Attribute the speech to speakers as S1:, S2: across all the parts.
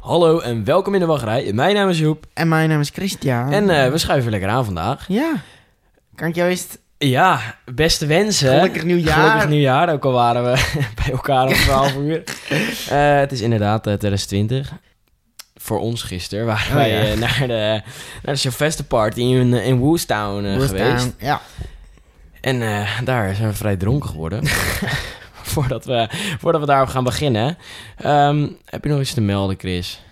S1: Hallo en welkom in de wachtrij. Mijn naam is Joep
S2: En mijn naam is Christian.
S1: en eh, we schuiven lekker aan vandaag.
S2: Ja. Kan ik jou eens...
S1: Ja, beste wensen.
S2: Gelukkig nieuwjaar.
S1: Gelukkig nieuwjaar, ook al waren we bij elkaar om 12 uur. Eh, het is inderdaad eh, 2020. Voor ons gisteren waren
S2: Oh,
S1: wij
S2: ja.
S1: eh, naar de, naar de Sylvester Party in, eh, in Woestown eh, geweest.
S2: Woestown. Ja.
S1: En eh, daar zijn we vrij dronken geworden. voordat, we, voordat we daarop gaan beginnen. Ehm, heb je nog iets te melden, Chris?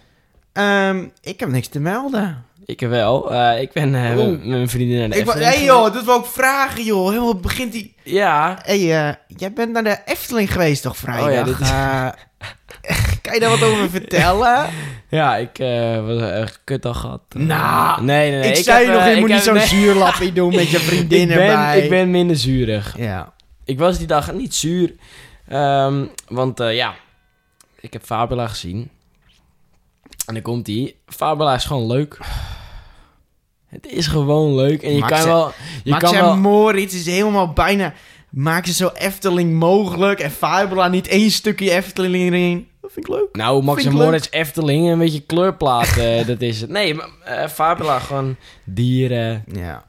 S2: Ehm, ik heb niks te melden.
S1: Ik wel. Eh, ik ben eh,
S2: Oeh.
S1: met mijn vriendin naar de
S2: Ik wou-
S1: Efteling
S2: hey joh, dat wil ik vragen joh. Helemaal begint die...
S1: geweest. Ja.
S2: Hey, eh, jij bent naar de Efteling geweest toch vrijdag?
S1: Oh ja, dit is-
S2: Eh, kan je daar wat over vertellen?
S1: Ja, ik eh was een echt kutdag gehad. Eh,
S2: Nou,
S1: nee, nee, nee.
S2: ik, zei
S1: heb,
S2: nog,
S1: eh,
S2: je moet
S1: ik
S2: niet
S1: heb-
S2: zo'n
S1: nee.
S2: zuurlappie doen met je vriendin
S1: ik ben,
S2: erbij.
S1: ik ben minder zuurig.
S2: Ja.
S1: Ik was die dag niet zuur. Ehm, want eh, ja, ik heb Fabula gezien. En dan komt die. Fabula is gewoon leuk. Het is gewoon leuk. En je
S2: Max
S1: kan
S2: zei-
S1: wel... Je
S2: Max
S1: kan
S2: en
S1: wel...
S2: Moritz is helemaal bijna... Maak ze zo Efteling mogelijk. En Fabula niet één stukje Efteling erin. Dat vind ik leuk.
S1: Nou, Max
S2: Vind
S1: en
S2: ik leuk.
S1: Moritz, Efteling, een beetje kleurplaat, eh, dat is het. Nee, maar, eh, Fabula, gewoon dieren,
S2: Ja.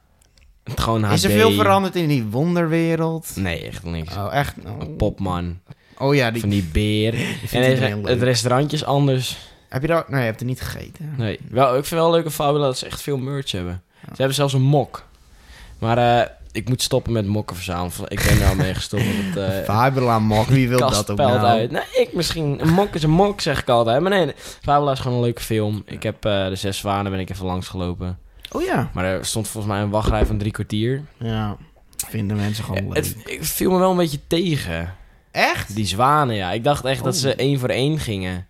S1: gewoon HD.
S2: Is er veel veranderd in die wonderwereld?
S1: Nee, echt niks.
S2: Oh, echt? Oh,
S1: Een popman,
S2: Oh ja, die...
S1: van die beer. en
S2: iedereen
S1: er-
S2: leuk.
S1: het restaurantje is anders.
S2: heb je daar... Nee, je hebt er niet gegeten.
S1: Nee, wel, ik vind wel leuk aan Fabula dat ze echt veel merch hebben. Ze hebben zelfs een mok. Maar eh, ik moet stoppen met mokken verzamelen. Ik ben daar al mee gestopt. want het, eh,
S2: Fabula mok, wie wil
S1: kast
S2: dat ook
S1: pelt
S2: nou?
S1: uit. Nee, ik misschien. Een mok is een mok, zeg ik altijd. Maar nee, nee, Fabula is gewoon een leuke film. Ik heb eh, de Zes Zwanen ben ik even langs gelopen.
S2: Oh ja.
S1: Maar er stond volgens mij een wachtrij van drie kwartier.
S2: Ja, vinden mensen gewoon leuk.
S1: Het ik viel me wel een beetje tegen.
S2: Echt?
S1: Die zwanen, ja. Ik dacht echt dat
S2: Oh.
S1: ze één voor één gingen.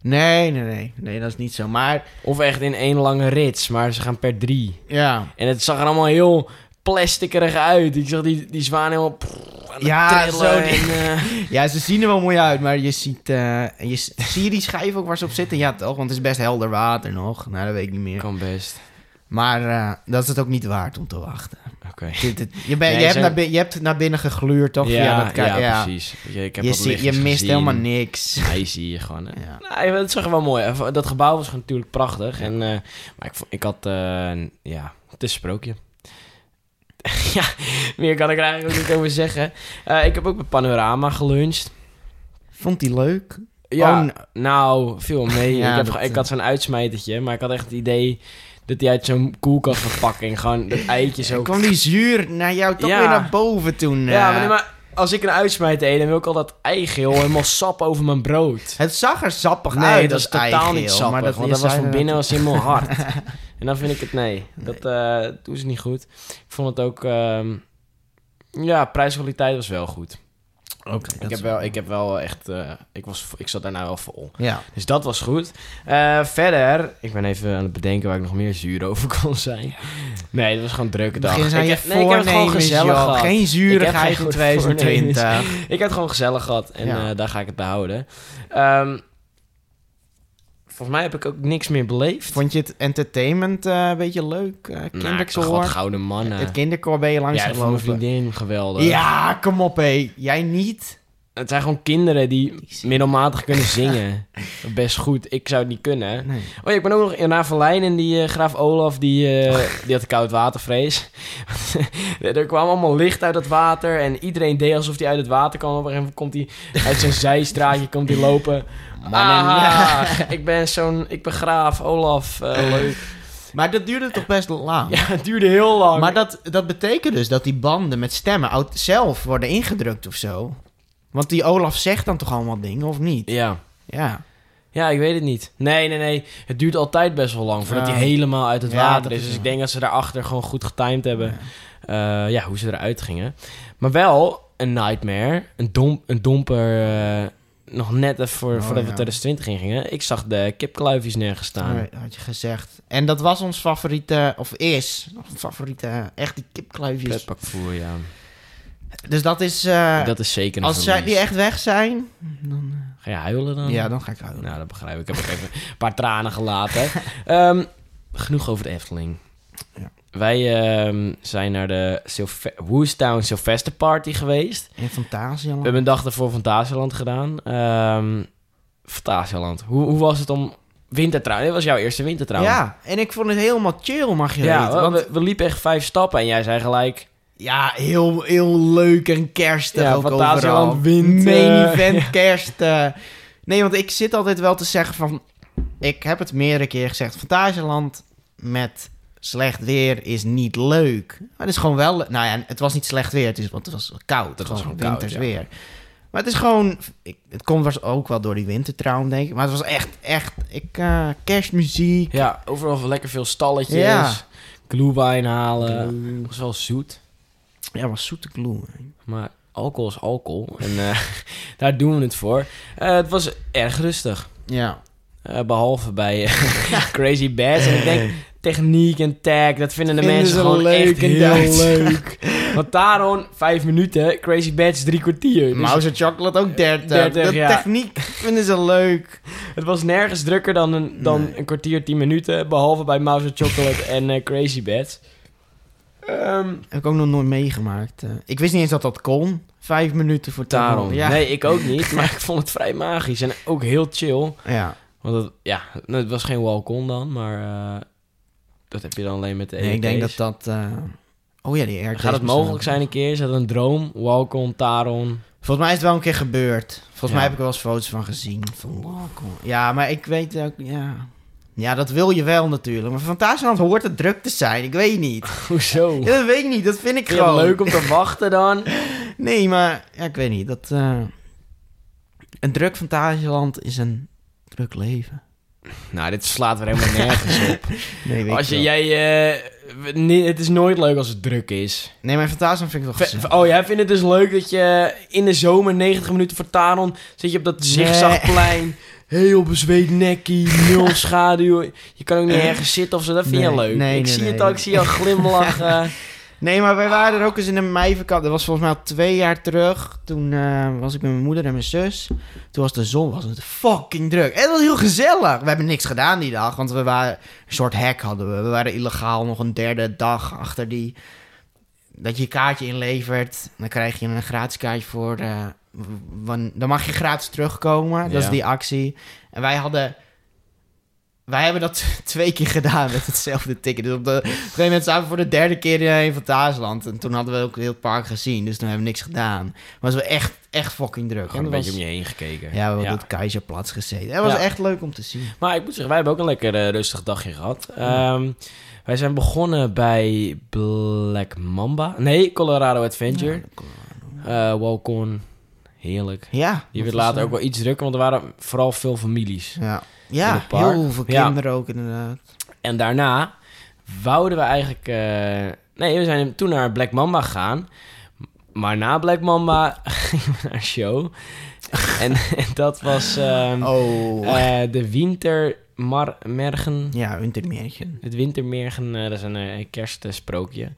S2: Nee, nee, nee. Nee, dat is niet zo. Maar
S1: Of echt in één lange rits, maar ze gaan per drie.
S2: ja.
S1: En het zag er allemaal heel plasticerig uit. Ik zag die, die zwanen helemaal... prrr, aan het
S2: Ja,
S1: trillen
S2: zo.
S1: en, eh,
S2: Ja, ze zien er wel mooi uit, maar je ziet... eh, je, s- zie je die schijf ook waar ze op zitten? Ja, toch? Want het is best helder water nog. Nou, dat weet ik niet meer.
S1: kan best.
S2: Maar eh, dat is het ook niet waard om te wachten.
S1: Oké.
S2: Dit- dit- je, bent-
S1: Nee,
S2: je, hebt
S1: zijn-
S2: naar, bin- je hebt naar binnen gegluurd, toch?
S1: Ja,
S2: Via
S1: ja,
S2: dat ka-
S1: precies. Je, ik heb
S2: Je,
S1: wat
S2: zie- je
S1: lichtjes
S2: mist
S1: gezien.
S2: helemaal niks.
S1: Hij zie je gewoon, hè.
S2: Ja.
S1: Nee, het zag er wel mooi uit. Dat gebouw was natuurlijk prachtig. En, eh, maar ik, vo- ik had... eh, ja, het is een sprookje. ja, meer kan ik er eigenlijk ook niet over zeggen. Eh, ik heb ook bij Panorama geluncht.
S2: Vond hij leuk?
S1: Ja,
S2: Oh, n-
S1: nou, veel mee.
S2: Ja,
S1: ik, heb,
S2: dat,
S1: ge- ik
S2: eh.
S1: had zo'n uitsmijtertje, maar ik had echt het idee... dat hij uit zo'n koelkastverpakking gewoon dat eitje zo...
S2: Dan kwam die zuur naar jou toch
S1: Ja.
S2: weer naar boven toen.
S1: Ja,
S2: eh.
S1: maar, nee, maar als ik een uitsmijter eet, dan wil ik al dat eigeel helemaal sap over mijn brood.
S2: Het zag er sappig
S1: Nee,
S2: uit.
S1: dat is
S2: dat
S1: totaal
S2: eigeel,
S1: niet sappig,
S2: Maar dat,
S1: want dat
S2: je
S1: was
S2: zei
S1: van
S2: dat-
S1: binnen was helemaal hard. en dan vind ik het, nee, dat eh doen ze niet goed. Ik vond het ook, ehm, ja, prijskwaliteit was wel goed.
S2: Oké,
S1: Ik heb wel, ik heb wel echt, eh, ik, was, ik zat daarna wel vol.
S2: Ja.
S1: Dus dat was goed. Eh, verder, ik ben even aan het bedenken waar ik nog meer zuur over kon zijn. Nee, het was gewoon een drukke dag.
S2: Begin zijn
S1: ik,
S2: je
S1: heb- nee, ik heb het gewoon
S2: voornemens,
S1: gezellig
S2: joh.
S1: gehad.
S2: Geen
S1: geen
S2: zuurigheid in
S1: goed
S2: 2020.
S1: Ik heb het gewoon gezellig gehad en
S2: Ja.
S1: eh, daar ga ik het bij houden. Ehm, volgens mij heb ik ook niks meer beleefd.
S2: Vond je het entertainment eh, een beetje leuk? eh
S1: Nou, ik zag wat
S2: kinderkoor?
S1: gouden mannen.
S2: het kinderkoor ben je langs
S1: ja, dat vond mijn
S2: gelopen.
S1: vriendin geweldig.
S2: Ja, kom op hé. Jij niet?
S1: Het zijn gewoon kinderen die middelmatig kunnen zingen. Best goed. Ik zou het niet kunnen.
S2: Nee.
S1: Oh ja, ik ben ook nog in Ravelijn en die eh, graaf Olaf, die, eh, die had koud watervrees. er kwam allemaal licht uit het water en iedereen deed alsof hij uit het water kwam. Op een gegeven moment komt hij uit zijn zijstraatje komt hij lopen. Ah, ik ben zo'n, ik ben graaf Olaf, eh, leuk.
S2: Maar dat duurde toch best lang?
S1: Ja, het duurde heel lang.
S2: Maar dat, dat betekent dus dat die banden met stemmen oud- zelf worden ingedrukt of zo. Want die Olaf zegt dan toch allemaal dingen, of niet?
S1: Ja.
S2: Ja.
S1: Ja, ik weet het niet. Nee, nee, nee. Het duurt altijd best wel lang voordat
S2: Ja.
S1: hij helemaal uit het
S2: Ja,
S1: water
S2: dat
S1: is.
S2: is
S1: Dus
S2: waar.
S1: ik denk dat ze daarachter gewoon goed getimed hebben. eh, ja, hoe ze eruit gingen. Maar wel een nightmare. Een, dom, een domper. eh, nog net even voor,
S2: Oh,
S1: voordat we
S2: ja.
S1: 2020 in gingen. Ik zag de kipkluifjes nergens staan.
S2: Nee, had je gezegd. En dat was ons favoriete, of is, ons favoriete, echt die kipkluifjes.
S1: Pretparkvoer, ja.
S2: Dus dat is, eh,
S1: dat is zeker een
S2: als zij, die
S1: verlies.
S2: echt weg zijn, dan, eh,
S1: Ga je huilen dan?
S2: ja, dan ga ik houden.
S1: Nou, dat begrijp ik. Ik heb ook even een paar tranen gelaten. Ehm, genoeg over de Efteling.
S2: Ja.
S1: Wij ehm, zijn naar de Sylve Woestown Sylvester Party geweest.
S2: In Fantasia.
S1: We hebben een dag ervoor Fantasieland gedaan. Ehm, Fantasieland. Hoe, hoe was het om wintertrouw? Dit was jouw eerste wintertrouw.
S2: Ja, en ik vond het helemaal chill, mag je
S1: Ja,
S2: weten.
S1: we,
S2: Want
S1: we, we liepen echt vijf stappen en jij zei gelijk...
S2: ja, heel, heel leuk en kerstig
S1: Ja,
S2: ook
S1: Fantasieland
S2: overal.
S1: wint,
S2: Main
S1: eh,
S2: event kerst. eh. Nee, want ik zit altijd wel te zeggen van... Ik heb het meerdere keer gezegd. Fantasieland met slecht weer is niet leuk. Maar het is gewoon wel... Nou ja, het was niet slecht weer, het is, want het was koud. Het was gewoon
S1: koud,
S2: winters
S1: ja.
S2: weer. Maar het is gewoon... Ik, het komt was ook wel door die winter trouwens, denk ik. Maar het was echt, echt... Ik, eh, kerstmuziek.
S1: Ja, overal lekker veel stalletjes.
S2: Ja.
S1: Glühwein halen. Het was wel eh, zoet.
S2: Ja, het was zoete gloe.
S1: Maar alcohol is alcohol. En eh, daar doen we het voor. Eh, het was erg rustig.
S2: Ja.
S1: Eh, behalve bij eh, Crazy Bads. En ik denk, techniek en tag, dat vinden de
S2: Vinden
S1: mensen
S2: ze
S1: gewoon
S2: leuk
S1: echt
S2: en
S1: heel
S2: Duits.
S1: leuk. Want daarom, vijf minuten, Crazy Bads drie kwartier. Dus
S2: Mouse Chocolate ook 30.
S1: 30,
S2: de
S1: ja.
S2: techniek vinden ze leuk.
S1: het was nergens drukker dan een, dan een kwartier, tien minuten. Behalve bij Mouse Chocolate en eh, Crazy Bads. Ehm,
S2: Heb ik ook nog nooit meegemaakt. eh. ik wist niet eens dat dat kon. Vijf minuten voor tien
S1: daarom.
S2: minuten. Ja.
S1: Nee, ik ook niet. Maar ik vond het vrij magisch. En ook heel chill.
S2: ja.
S1: Want het, ja, het was geen walk-on dan, maar... eh, dat heb je dan alleen met de E
S2: Nee, ik denk dat
S1: EP's.
S2: dat... eh, Oh ja, die RT's
S1: Gaat het
S2: bestaan.
S1: mogelijk zijn een keer? Is dat een droom? Walk-on, Taron?
S2: Volgens mij is het wel een keer gebeurd. Volgens
S1: Ja.
S2: mij heb ik er wel eens foto's van gezien. Van, wow, cool. Ja, maar ik weet ook... Ja. ja, dat wil je wel natuurlijk. Maar Fantasieland hoort het druk te zijn. Ik weet niet.
S1: Hoezo?
S2: Ja, dat weet ik niet. Dat vind ik
S1: Vind je het
S2: gewoon...
S1: leuk om te wachten dan?
S2: Nee, maar ja, ik weet niet. Dat, eh, een druk fantasieland is een druk leven.
S1: Nou, dit slaat weer helemaal nergens op.
S2: Nee, weet
S1: Als je,
S2: wel.
S1: jij, eh, w- nee, het is nooit leuk als het druk is.
S2: nee mijn fantasieland vind ik wel
S1: Ve-
S2: gezellig.
S1: Oh, jij vindt het dus leuk dat je in de zomer 90 minuten voor Taron zit je op dat zigzagplein. Heel bezweet nekkie, nul schaduw. Je kan ook niet ergens zitten of zo. Dat vind je
S2: Nee,
S1: leuk.
S2: nee,
S1: ik
S2: nee,
S1: zie het
S2: nee.
S1: al, ik zie jou glimlachen.
S2: Nee, maar wij waren er ook eens in de meivakantie. Dat was volgens mij al twee jaar terug. Toen eh, was ik met mijn moeder en mijn zus. Toen was de zon was het fucking druk. En het was heel gezellig. We hebben niks gedaan die dag, want we waren een soort hack hadden we. We waren illegaal nog een derde dag achter die. Dat je je kaartje inlevert. Dan krijg je een gratis kaartje voor. eh, w- wan- dan mag je gratis terugkomen. Dat is
S1: Ja.
S2: die actie. En wij hadden. Wij hebben dat twee keer gedaan met hetzelfde ticket. Dus op, de, op een gegeven moment zaten we voor de derde keer eh, in Fantasieland. En toen hadden we ook heel het park gezien. Dus toen hebben we niks gedaan. Maar het was wel echt, echt fucking druk.
S1: Gewoon
S2: En
S1: een
S2: dat
S1: beetje om
S2: was-
S1: je heen gekeken.
S2: Ja, we hadden op het Keizerplatz gezeten. Het was
S1: Ja.
S2: echt leuk om te zien.
S1: Maar ik moet zeggen, wij hebben ook een lekker eh, rustig dagje gehad. Ehm, wij zijn begonnen bij Black Mamba. Nee, Colorado Adventure. Eh Walcon. Heerlijk.
S2: Ja.
S1: Je werd later ook wel iets drukker, want er waren vooral veel families.
S2: Ja,
S1: In
S2: ja
S1: het park.
S2: heel veel
S1: Ja.
S2: kinderen ook inderdaad.
S1: En daarna wouden we eigenlijk... eh, Nee, we zijn toen naar Black Mamba gegaan. Maar na Black Mamba gingen we naar een show. en, en dat was ehm,
S2: Oh.
S1: eh, de Wintermergen...
S2: ja, Untermärchen.
S1: Het Wintermergen, eh, dat is een eh, kerstsprookje.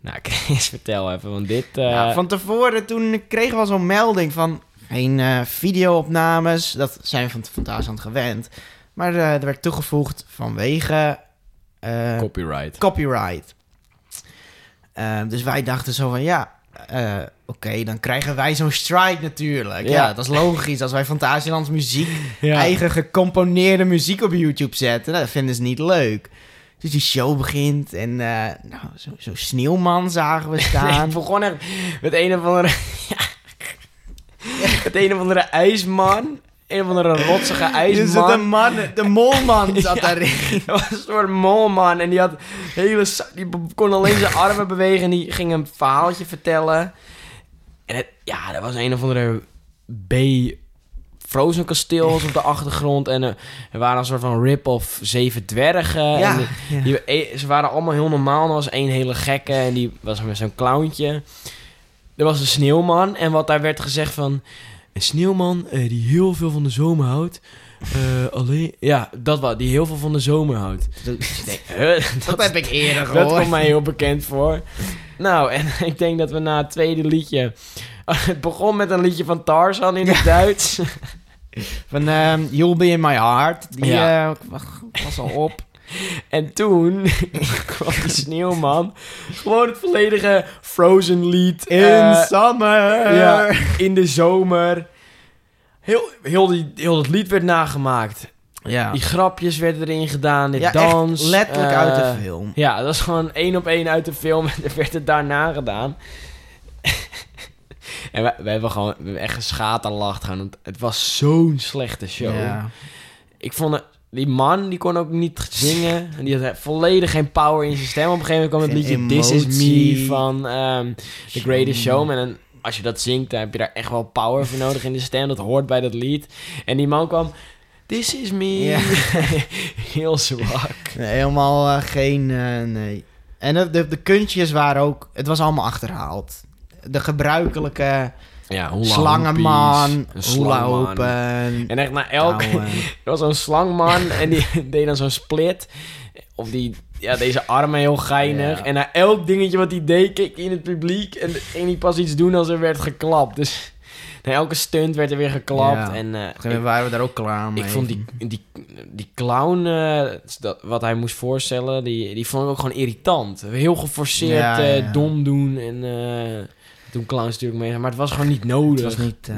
S1: Nou, Chris, vertel even, want dit... eh,
S2: ja, van tevoren toen kregen we zo'n melding van geen eh, videoopnames. Dat zijn we van Fantasieland gewend. Maar eh, er werd toegevoegd vanwege eh,
S1: Copyright.
S2: copyright. Eh, dus wij dachten zo van ja, eh, oké, dan krijgen wij zo'n strike natuurlijk. Ja.
S1: Ja.
S2: dat is logisch. Als wij Fantasielands muziek
S1: Ja.
S2: eigen gecomponeerde muziek op YouTube zetten. Nou, dat vinden ze niet leuk. Dus die show begint en eh, nou, zo- zo'n sneeuwman zagen we
S1: Nee,
S2: staan.
S1: ik begon echt met een of andere... ja. Met een of andere ijsman. Een of andere rotsige
S2: Dus de,
S1: ijsman.
S2: man, de molman zat daarin.
S1: Dat was een soort molman en die had hele... sa- Die kon alleen zijn armen bewegen en die ging een verhaaltje vertellen. En het, ja, dat was een of andere B... Frozen kasteels op de achtergrond en eh, er waren een soort van rip-off zeven dwergen. En
S2: Ja,
S1: de-
S2: ja.
S1: Die, eh, ze waren allemaal heel normaal. en Er was één hele gekke en die was met zo'n clowntje. Er was een sneeuwman en wat daar werd gezegd van... Een sneeuwman eh, die heel veel van de zomer houdt. eh, alleen... Ja, dat wat. Die heel veel van de zomer houdt.
S2: Dat-
S1: Ik denk, huh,
S2: dat heb ik eerder
S1: dat
S2: gehoord.
S1: komt mij heel bekend voor. Nou, en ik denk dat we na het tweede liedje... Het begon met een liedje van Tarzan in het Duits.
S2: Van ehm You'll Be In My Heart. Die
S1: Ja.
S2: eh, wacht, was al op.
S1: En toen kwam die sneeuwman. Gewoon het volledige Frozen lied.
S2: In
S1: eh,
S2: summer.
S1: Ja, in de zomer. Heel, heel, die, heel dat lied werd nagemaakt.
S2: Ja,
S1: Die grapjes werden erin gedaan. Dit
S2: ja
S1: dans.
S2: echt letterlijk
S1: eh,
S2: uit de film.
S1: Ja, dat is gewoon één op één uit de film. En dan werd het daarna gedaan. en we, we hebben gewoon we hebben echt geschaat en lacht. Gewoon, want het was zo'n slechte show.
S2: Ja.
S1: Ik vond het- Die man, die kon ook niet zingen. En die had volledig geen power in zijn stem. Op een gegeven moment kwam het
S2: Geen
S1: liedje This Is Me
S2: emotie.
S1: van ehm, The Greatest
S2: Hmm.
S1: Showman. En als je dat zingt, dan heb je daar echt wel power voor nodig in de stem. Dat hoort bij dat lied. En die man kwam... This Is Me.
S2: Ja.
S1: Heel zwak.
S2: Nee, helemaal eh, geen... eh, nee. En de, de, de kunstjes waren ook... Het was allemaal achterhaald. De gebruikelijke
S1: Ja, hula
S2: slangenman,
S1: hoepies, een
S2: hula
S1: slangman.
S2: hopen,
S1: En echt na elk...
S2: touwen.
S1: Er was zo'n slangman en die deed dan zo'n split. Of die... Ja, deze armen heel geinig.
S2: Ja.
S1: En na elk dingetje wat hij deed, keek hij in het publiek. En ging hij pas iets doen als er werd geklapt. Dus na elke stunt werd er weer geklapt.
S2: Ja.
S1: En eh,
S2: Op een gegeven moment
S1: ik,
S2: waren we daar ook klaar mee.
S1: ik vond die, die, die clown, eh, dat, wat hij moest voorstellen, die, die vond ik ook gewoon irritant. Heel geforceerd
S2: Ja, ja,
S1: eh,
S2: ja.
S1: dom doen en... eh, toen clowns natuurlijk mee, maar het was gewoon niet
S2: Het
S1: nodig.
S2: was niet... eh,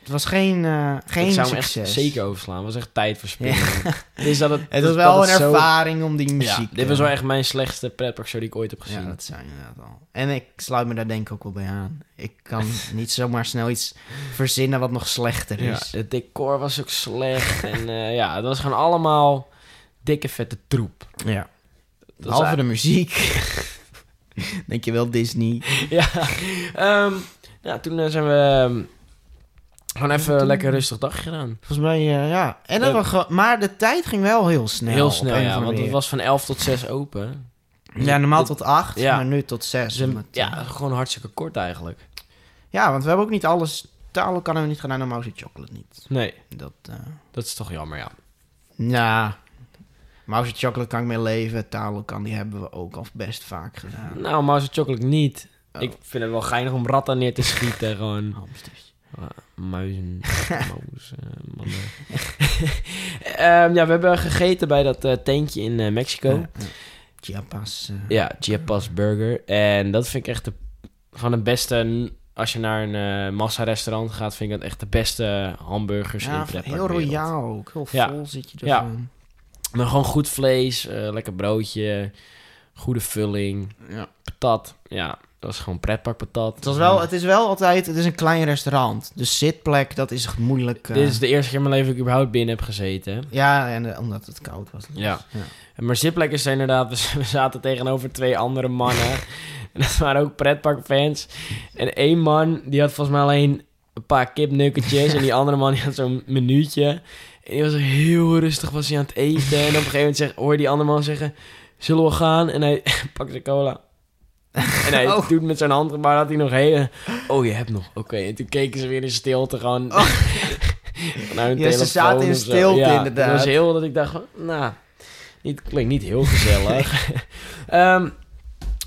S2: het was geen, eh, geen
S1: ik zou hem
S2: succes.
S1: echt zeker overslaan. Het was echt tijdverspilling. Dus dat het, dat-
S2: Het was wel
S1: dat
S2: een
S1: het zo-
S2: ervaring om die
S1: Ja,
S2: muziek...
S1: dit
S2: eh,
S1: was wel echt mijn slechtste pretparkshow die ik ooit heb gezien.
S2: Ja, dat zijn inderdaad al. En ik sluit me daar denk ik ook wel bij aan. Ik kan niet zomaar snel iets verzinnen wat nog slechter
S1: Ja,
S2: is.
S1: het decor was ook slecht. en eh, ja, het was gewoon allemaal dikke vette troep.
S2: Ja.
S1: Dat was
S2: Behalve de muziek. denk je wel Disney?
S1: Ja, ehm, ja toen eh, zijn we ehm, gewoon even een lekker rustig dag gedaan.
S2: Volgens mij, eh, ja. En dat
S1: Eh,
S2: we ge- maar de tijd ging wel heel snel.
S1: Heel
S2: Nou, op
S1: snel,
S2: een of
S1: ja,
S2: andere
S1: want het
S2: manier.
S1: was van 11 tot 6 open.
S2: Ja, normaal tot acht,
S1: Ja.
S2: maar nu tot zes.
S1: Dus, ehm,
S2: omdat, eh,
S1: ja, gewoon hartstikke kort eigenlijk.
S2: ja, want we hebben ook niet alles... Talen kan we niet gedaan, en Mousy Chocolate niet.
S1: Nee,
S2: Dat, eh
S1: dat is toch jammer, ja.
S2: ja... Mousy Chocolate kan ik mee leven. Talen kan, die hebben we ook al best vaak gedaan.
S1: Nou, Mouse Chocolate niet.
S2: Oh.
S1: Ik vind het wel geinig om ratten neer te schieten, gewoon.
S2: Hamsters.
S1: Ah, Muizen, muizen, mannen. Ehm, ja, we hebben gegeten bij dat eh, tentje in eh, Mexico.
S2: Ja, ja. Chiapas. eh,
S1: Ja, Chiapas Burger. En dat vind ik echt de, van de beste... Als je naar een eh, massa-restaurant gaat, vind ik dat echt de beste hamburgers in
S2: ja,
S1: de
S2: heel royaal ook. Heel
S1: Ja.
S2: vol zit je er
S1: Ja.
S2: gewoon.
S1: Maar gewoon goed vlees, eh, lekker broodje, goede vulling,
S2: Ja.
S1: patat. Ja, dat is gewoon Mm. pretpark patat.
S2: Het, was wel, het is wel altijd... Het is een klein restaurant. Dus zitplek, dat is moeilijk. eh,
S1: Dit is de eerste keer in mijn leven dat ik überhaupt binnen heb gezeten.
S2: Ja, en, eh, omdat het koud was.
S1: Ja.
S2: ja.
S1: Maar zitplek is inderdaad, we- we zaten tegenover twee andere mannen. en dat waren ook pretparkfans. En één man, die had volgens mij alleen een paar kipnukkertjes. en die andere man, die had zo'n minuutje. En die was heel rustig, was hij aan het eten. En op een gegeven moment zegt, hoor je die andere man zeggen... Zullen we gaan? En hij pakt zijn cola. En hij
S2: Oh.
S1: doet met zijn handgebaar dat hij nog heen. Oh, je hebt nog. Oké. En toen keken ze weer in stilte gewoon. naar hun
S2: Ja, ze
S1: telefoon
S2: zaten in
S1: of zo.
S2: stilte,
S1: Ja,
S2: inderdaad.
S1: Het was heel dat ik dacht, van, nou, niet, klinkt niet heel gezellig. Ehm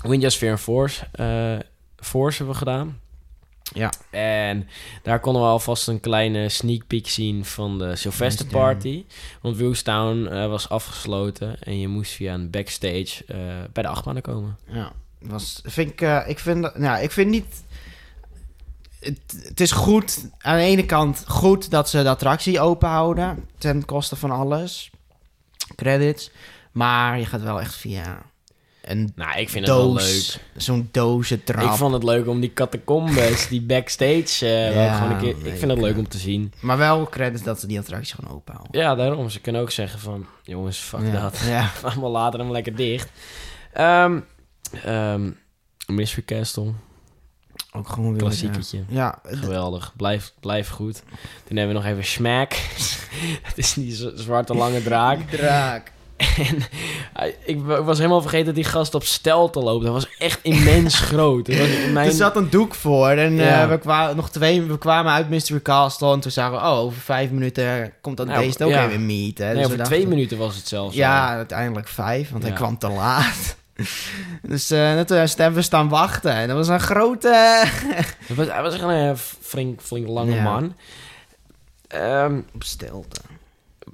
S1: Windjasphere en Force, eh, Force hebben we gedaan.
S2: Ja.
S1: En daar konden we alvast een kleine sneak peek zien van de Sylvester
S2: Countdown.
S1: Party. Want Wilstown was afgesloten en je moest via een backstage eh, bij de achtbanen komen.
S2: Ja, was, vind ik, eh, ik vind, dat- nou, ik vind niet. Het, het is goed, aan de ene kant goed dat ze de attractie open houden ten koste van alles, credits. Maar je gaat wel echt via een
S1: Nou, ik vind het wel leuk.
S2: doos, zo'n dozentrap.
S1: Ik vond het leuk om die catacombes, die backstage, eh, wel
S2: Ja,
S1: gewoon een keer, ik vind het
S2: leuk,
S1: leuk
S2: ja.
S1: om te zien.
S2: Maar wel credits dat ze die attractie gewoon open houden.
S1: Ja, daarom. Ze kunnen ook zeggen van... Jongens, fuck
S2: ja.
S1: dat.
S2: Ja.
S1: Allemaal later hem lekker dicht. Ehm ehm, Mystery Castle.
S2: Ook gewoon weer.
S1: Klassieketje.
S2: Ja,
S1: Geweldig. Blijf, blijf goed. Toen hebben we nog even Smack. dat is die z- zwarte lange draak.
S2: draak.
S1: En hij- ik wa- ik was helemaal vergeten dat die gast op stelte loopt. Dat was echt immens groot. Dat was in mijn...
S2: Er zat een doek voor en eh,
S1: Ja.
S2: we, kwamen, nog twee, we kwamen uit Mystery Castle en toen zagen we, oh, over vijf minuten komt dat
S1: Nou,
S2: beest ook
S1: ja.
S2: weer meet. Hè. Dus
S1: Nee,
S2: we
S1: over
S2: dachten-
S1: twee minuten was het zelfs. al.
S2: Ja, uiteindelijk vijf, want
S1: Ja.
S2: hij kwam te laat. dus eh net toen hebben we staan wachten en dat was een grote...
S1: Het was, hij was echt een eh, flink, flink lange
S2: Ja.
S1: man. Ehm,
S2: Op stilte.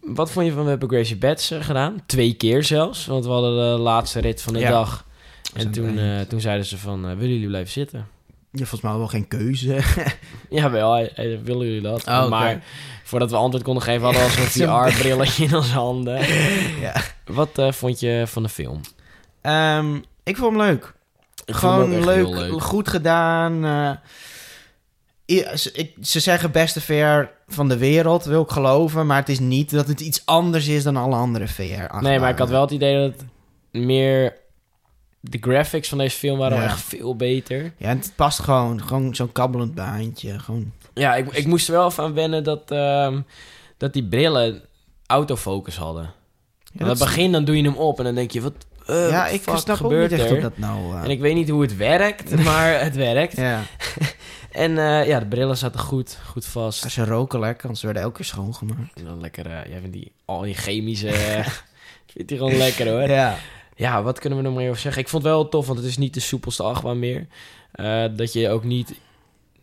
S1: Wat vond je van, we hebben Gracie Bats eh, gedaan. Twee keer zelfs, want we hadden de laatste rit van de
S2: Ja.
S1: dag.
S2: aan
S1: En
S2: het
S1: toen,
S2: eind.
S1: eh, toen zeiden ze van, eh, willen jullie blijven zitten?
S2: Je hebt volgens mij wel geen keuze.
S1: Jawel, hij, hij, willen jullie dat?
S2: Oh, oké.
S1: maar voordat we antwoord konden geven, hadden we
S2: Zo'n-
S1: zo'n VR-brilletje in onze handen.
S2: ja.
S1: Wat eh, vond je van de film?
S2: Ehm, ik vond hem leuk. Gewoon leuk, goed gedaan. eh. I- ze, ik- ze zeggen beste VR van de wereld, wil ik geloven. Maar het is niet dat het iets anders is dan alle andere VR.
S1: Nee,
S2: achtbanen.
S1: maar ik had wel het idee dat het meer... De graphics van deze film waren
S2: Ja.
S1: wel echt veel beter.
S2: Ja, en het past gewoon. Gewoon zo'n kabbelend baantje. Gewoon.
S1: Ja, ik, ik moest er wel van wennen dat, ehm, dat die brillen autofocus hadden.
S2: Ja,
S1: Aan het begin dan doe je hem op en dan denk je, wat eh,
S2: ja,
S1: wat
S2: ik
S1: fuck
S2: snap ook
S1: gebeurt
S2: niet echt
S1: er?
S2: hoe dat nou... eh,
S1: En ik weet niet hoe het werkt, maar het werkt.
S2: ja.
S1: En eh, ja, de brillen zaten goed, goed vast.
S2: Ze roken lekker, want ze werden elke keer schoongemaakt.
S1: En dan lekker, eh, jij vindt die, al die chemische... eh, ik vind die gewoon lekker hoor. Ja.
S2: Ja.
S1: wat kunnen we er nog meer over zeggen? Ik vond het wel tof, want het is niet de soepelste achtbaan meer. Eh, dat je ook niet...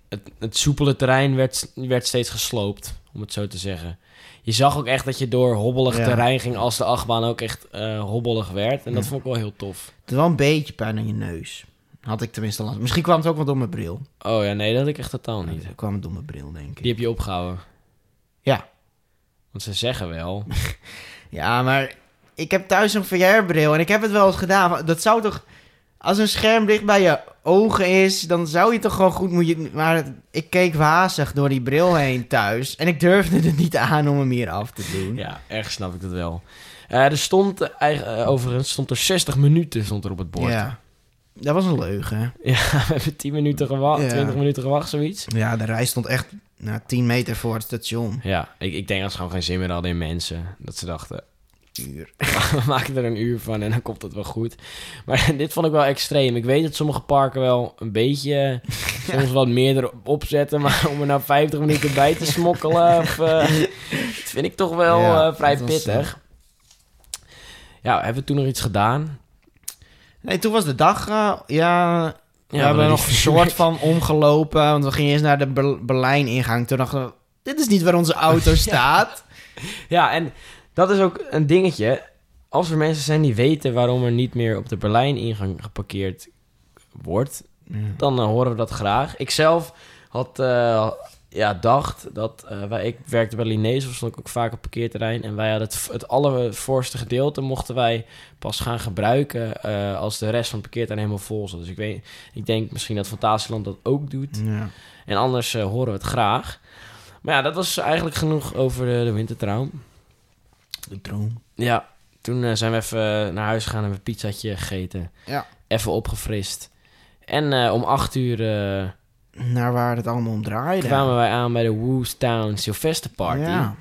S1: Het, het soepele terrein werd, werd steeds gesloopt, om het zo te zeggen. Je zag ook echt dat je door hobbelig
S2: Ja.
S1: terrein ging als de achtbaan ook echt eh, hobbelig werd. En dat
S2: Ja.
S1: vond ik wel heel tof.
S2: Het is wel een beetje pijn aan je neus. Had ik tenminste last. Misschien kwam het ook wel door mijn bril.
S1: Oh ja, nee, dat had ik echt totaal niet.
S2: Dat kwam het door mijn bril, denk ik.
S1: Die heb je opgehouden.
S2: Ja.
S1: Want ze zeggen wel.
S2: Ja, maar ik heb thuis een VR-bril en ik heb het wel eens gedaan. Dat zou toch... Als een scherm dicht bij je ogen is, dan zou je toch gewoon goed moeten... Maar het- ik keek wazig door die bril heen thuis. En ik durfde het niet aan om hem hier af te doen.
S1: Ja, erg snap ik dat wel. Eh, er stond eh, eigen- eh, overigens stond er 60 minuten stond er op het bord. Ja,
S2: Ja. Dat was een leugen.
S1: we hebben 10 minuten gewacht,
S2: Ja.
S1: 20 minuten gewacht, zoiets.
S2: Ja, de rij stond echt nou, 10 meter voor het station.
S1: Ja, ik, ik denk dat ze gewoon geen zin meer hadden in mensen. Dat ze dachten,
S2: Uur.
S1: we maken er een uur van en dan komt het wel goed. Maar dit vond ik wel extreem. Ik weet dat sommige parken wel een beetje, eh, soms wat meer erop opzetten. Maar om er nou 50 minuten bij te smokkelen, of, eh, dat vind ik toch wel
S2: Ja,
S1: eh, vrij
S2: dat was, eh,
S1: pittig. Ja, hebben we toen nog iets gedaan?
S2: Nee, toen was de dag... eh, ja, we
S1: maar
S2: hebben
S1: die-
S2: nog een soort van omgelopen. Want we gingen eerst naar de Ber- Berlijn-ingang. Toen dachten we, dit is niet waar onze auto staat.
S1: Ja, en dat is ook een dingetje. Als er mensen zijn die weten waarom er niet meer op de Berlijn-ingang geparkeerd wordt,
S2: Ja.
S1: dan eh, horen we dat graag. Ik zelf had, eh, ja, dacht dat eh, wij, ik werkte bij Linees, of stond ik ook vaak op parkeerterrein. En wij hadden het, v- het allervoorste gedeelte mochten wij pas gaan gebruiken eh, als de rest van het parkeerterrein helemaal vol zat. Dus ik, weet, ik denk misschien dat Fantasieland dat ook doet.
S2: Ja.
S1: En anders eh, horen we het graag. Maar ja, dat was eigenlijk genoeg over de, de wintertrouw.
S2: De droom.
S1: Ja, toen eh, zijn we even eh, naar huis gegaan en hebben we een pizzaatje gegeten.
S2: Ja.
S1: Even opgefrist. En eh, om acht uur eh,
S2: Naar waar het allemaal om draaide.
S1: kwamen wij aan bij de Woestown Sylvester Party.
S2: Ja,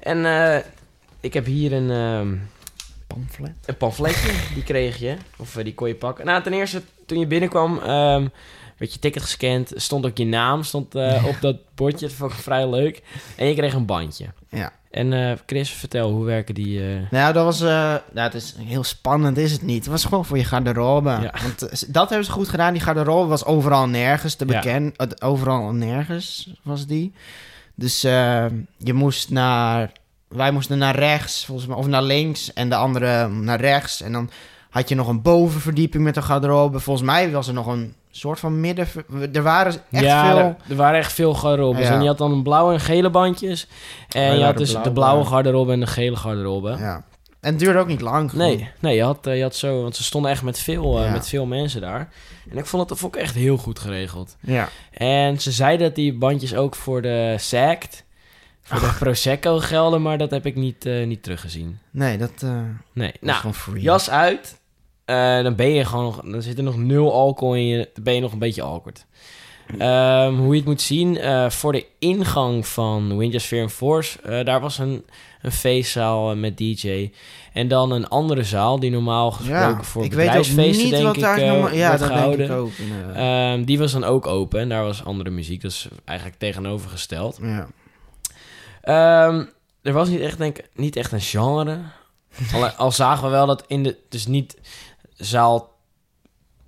S1: En eh, ik heb hier een, ehm,
S2: pamflet.
S1: een pamfletje, die kreeg je. Of eh, die kon je pakken. Nou, ten eerste, toen je binnenkwam, ehm, werd je ticket gescand. Stond ook je naam stond, eh, op dat bordje. Dat vond ik vrij leuk. En je kreeg een bandje.
S2: Ja.
S1: En eh, Chris, vertel, hoe werken die... eh,
S2: Nou, dat was... eh nou, het is heel spannend, is het niet. Het was gewoon voor je garderobe.
S1: Ja.
S2: Want eh, dat hebben ze goed gedaan. Die garderobe was overal nergens te
S1: Ja.
S2: bekennen. Het- Overal nergens was die. Dus eh, je moest naar... Wij moesten naar rechts, volgens mij. Of naar links. En de andere naar rechts. En dan had je nog een bovenverdieping met de garderobe. Volgens mij was er nog een soort van midden... Er waren echt
S1: ja,
S2: veel...
S1: er, er waren echt veel garderobes.
S2: Ja.
S1: En je had dan een blauwe en gele bandjes. En je had
S2: waren
S1: dus
S2: blauw,
S1: de blauwe
S2: maar-
S1: garderobe en de gele garderobe.
S2: Ja. En het duurde ook niet lang. gewoon.
S1: Nee, nee je, had, eh, je had zo... Want ze stonden echt met veel, eh,
S2: Ja.
S1: met veel mensen daar. En ik vond het vond ik echt heel goed geregeld.
S2: Ja.
S1: En ze zeiden dat die bandjes ook voor de sect... Voor de Prosecco gelden, maar dat heb ik niet, eh, niet teruggezien.
S2: Nee, dat eh,
S1: Nee.
S2: was
S1: Nou,
S2: gewoon free.
S1: jas uit. Eh, dan ben je gewoon nog... Dan zit er nog nul alcohol in je. Dan ben je nog een beetje awkward. Ehm, hoe je het moet zien, eh, voor de ingang van Windows Fear and Force... eh, daar was een, een feestzaal eh, met DJ. En dan een andere zaal die normaal gesproken voor
S2: ik weet ook
S1: bedrijfsfeesten,
S2: niet
S1: denk
S2: wat
S1: ik,
S2: daar
S1: eh,
S2: normaal- Ja,
S1: wordt
S2: dat
S1: gehouden.
S2: denk ik ook. inderdaad.
S1: Ehm, die was dan ook open en daar was andere muziek. Dat is eigenlijk tegenovergesteld.
S2: ja.
S1: Ehm, er was niet echt, denk, ik, niet echt een genre. al, al zagen we wel dat in de... Dus niet zaal...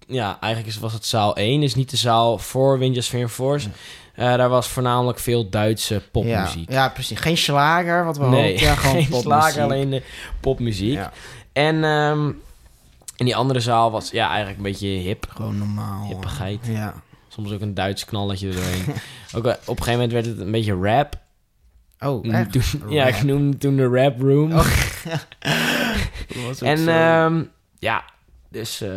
S1: Ja, eigenlijk is, was het zaal 1. Dus niet de zaal voor Windows Fear and Force. Eh, daar was voornamelijk veel Duitse popmuziek.
S2: Ja, ja, precies. Geen slager, wat we
S1: Nee,
S2: hoopten. Ja, gewoon
S1: geen
S2: popmuziek.
S1: slager, alleen de popmuziek.
S2: Ja,
S1: En ehm, in die andere zaal was ja, eigenlijk een beetje hip.
S2: gewoon normaal. eh.
S1: Hippigheid.
S2: Ja.
S1: Zoals Soms ook een Duits knalletje erdoorheen. ook, eh, op een gegeven moment werd het een beetje rap. Mm,
S2: Oh, echt?
S1: Toen- ja, ik noemde toen de rap room.
S2: Oh, Was ook
S1: en
S2: zo.
S1: ehm, ja, dus eh,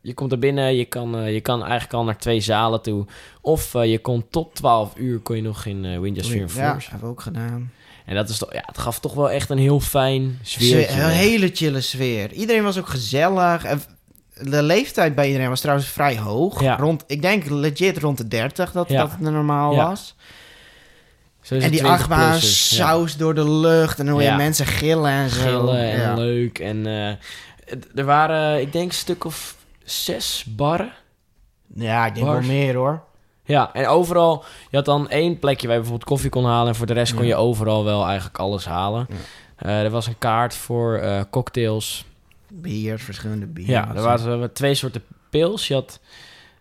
S1: je komt er binnen. Je kan, eh, je kan eigenlijk al naar twee zalen toe. Of eh, je kon tot 12 uur kon je nog in eh Winchester
S2: ja,
S1: Force.
S2: hebben we ook gedaan.
S1: En dat is toch, ja, het gaf toch wel echt een heel fijn
S2: Sfeer,
S1: sfeertje.
S2: een hele chille sfeer. Iedereen was ook gezellig. En de leeftijd bij iedereen was trouwens vrij hoog.
S1: Ja.
S2: Rond, ik denk legit rond de 30 dat,
S1: Ja.
S2: dat het normaal
S1: Ja. Dus
S2: was.
S1: Zo is
S2: en
S1: het
S2: die
S1: 20
S2: achtbaan,
S1: plussers, ja.
S2: saus door de lucht. En dan hoor je
S1: Ja.
S2: mensen gillen en zo.
S1: gillen en
S2: Ja.
S1: leuk. En eh, het- er waren, ik denk, een stuk of zes barren.
S2: ja, ik denk
S1: Bars.
S2: wel meer hoor.
S1: Ja, en overal, je had dan één plekje waar je bijvoorbeeld koffie kon halen. En voor de rest kon
S2: Ja.
S1: je overal wel eigenlijk alles halen.
S2: Ja.
S1: Eh, er was een kaart voor eh, cocktails.
S2: Bier, verschillende bier.
S1: Ja, er waren eh, twee soorten pils. Je had,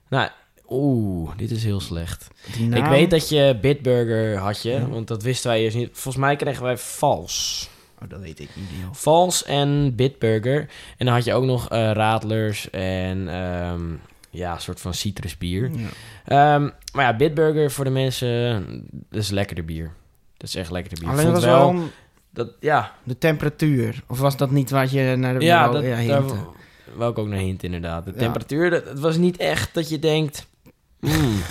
S1: nou, oeh, dit is heel slecht.
S2: Die naam-
S1: Ik weet dat je Bitburger had je,
S2: Nou. Ja.
S1: want dat wisten wij eerst niet. Volgens mij kregen wij vals.
S2: Oh, dat weet ik niet. joh.
S1: Vals en Bitburger. En dan had je ook nog eh, Radlers en ehm, ja, een soort van citrusbier.
S2: Ja.
S1: Ehm, maar ja, Bitburger voor de mensen, dat is lekkerder bier. Dat is echt lekkerder bier.
S2: Alleen
S1: Ik
S2: was
S1: vond
S2: wel
S1: dat, ja,
S2: de temperatuur. Of was dat niet wat je naar de
S1: ja,
S2: wou-
S1: dat,
S2: ja,
S1: daar
S2: hinten?
S1: wou ik ook naar hint inderdaad. De
S2: Ja.
S1: temperatuur, dat, het was niet echt dat je denkt, mm,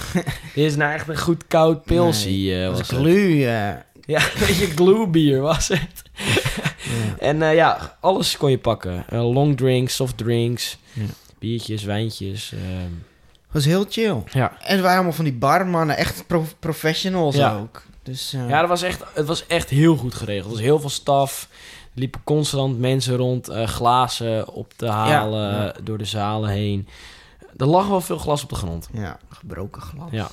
S1: dit is nou echt een goed koud pilsie. eh,
S2: Dat
S1: was
S2: was
S1: het.
S2: glu. eh,
S1: Ja, een beetje glühbier was het.
S2: ja.
S1: En eh, ja, alles kon je pakken. Eh, long drinks, soft drinks,
S2: Ja.
S1: biertjes, wijntjes. ehm,
S2: was heel chill.
S1: ja.
S2: En het waren allemaal van die barmannen, echt pro- professionals
S1: Ja.
S2: ook. Dus eh,
S1: Ja, dat was echt, het was echt heel goed geregeld. Er was heel veel staf. Er liepen constant mensen rond, eh, glazen op te halen
S2: Ja, ja.
S1: eh, door de zalen heen. Er lag wel veel glas op de grond.
S2: ja, gebroken glas.
S1: Ja.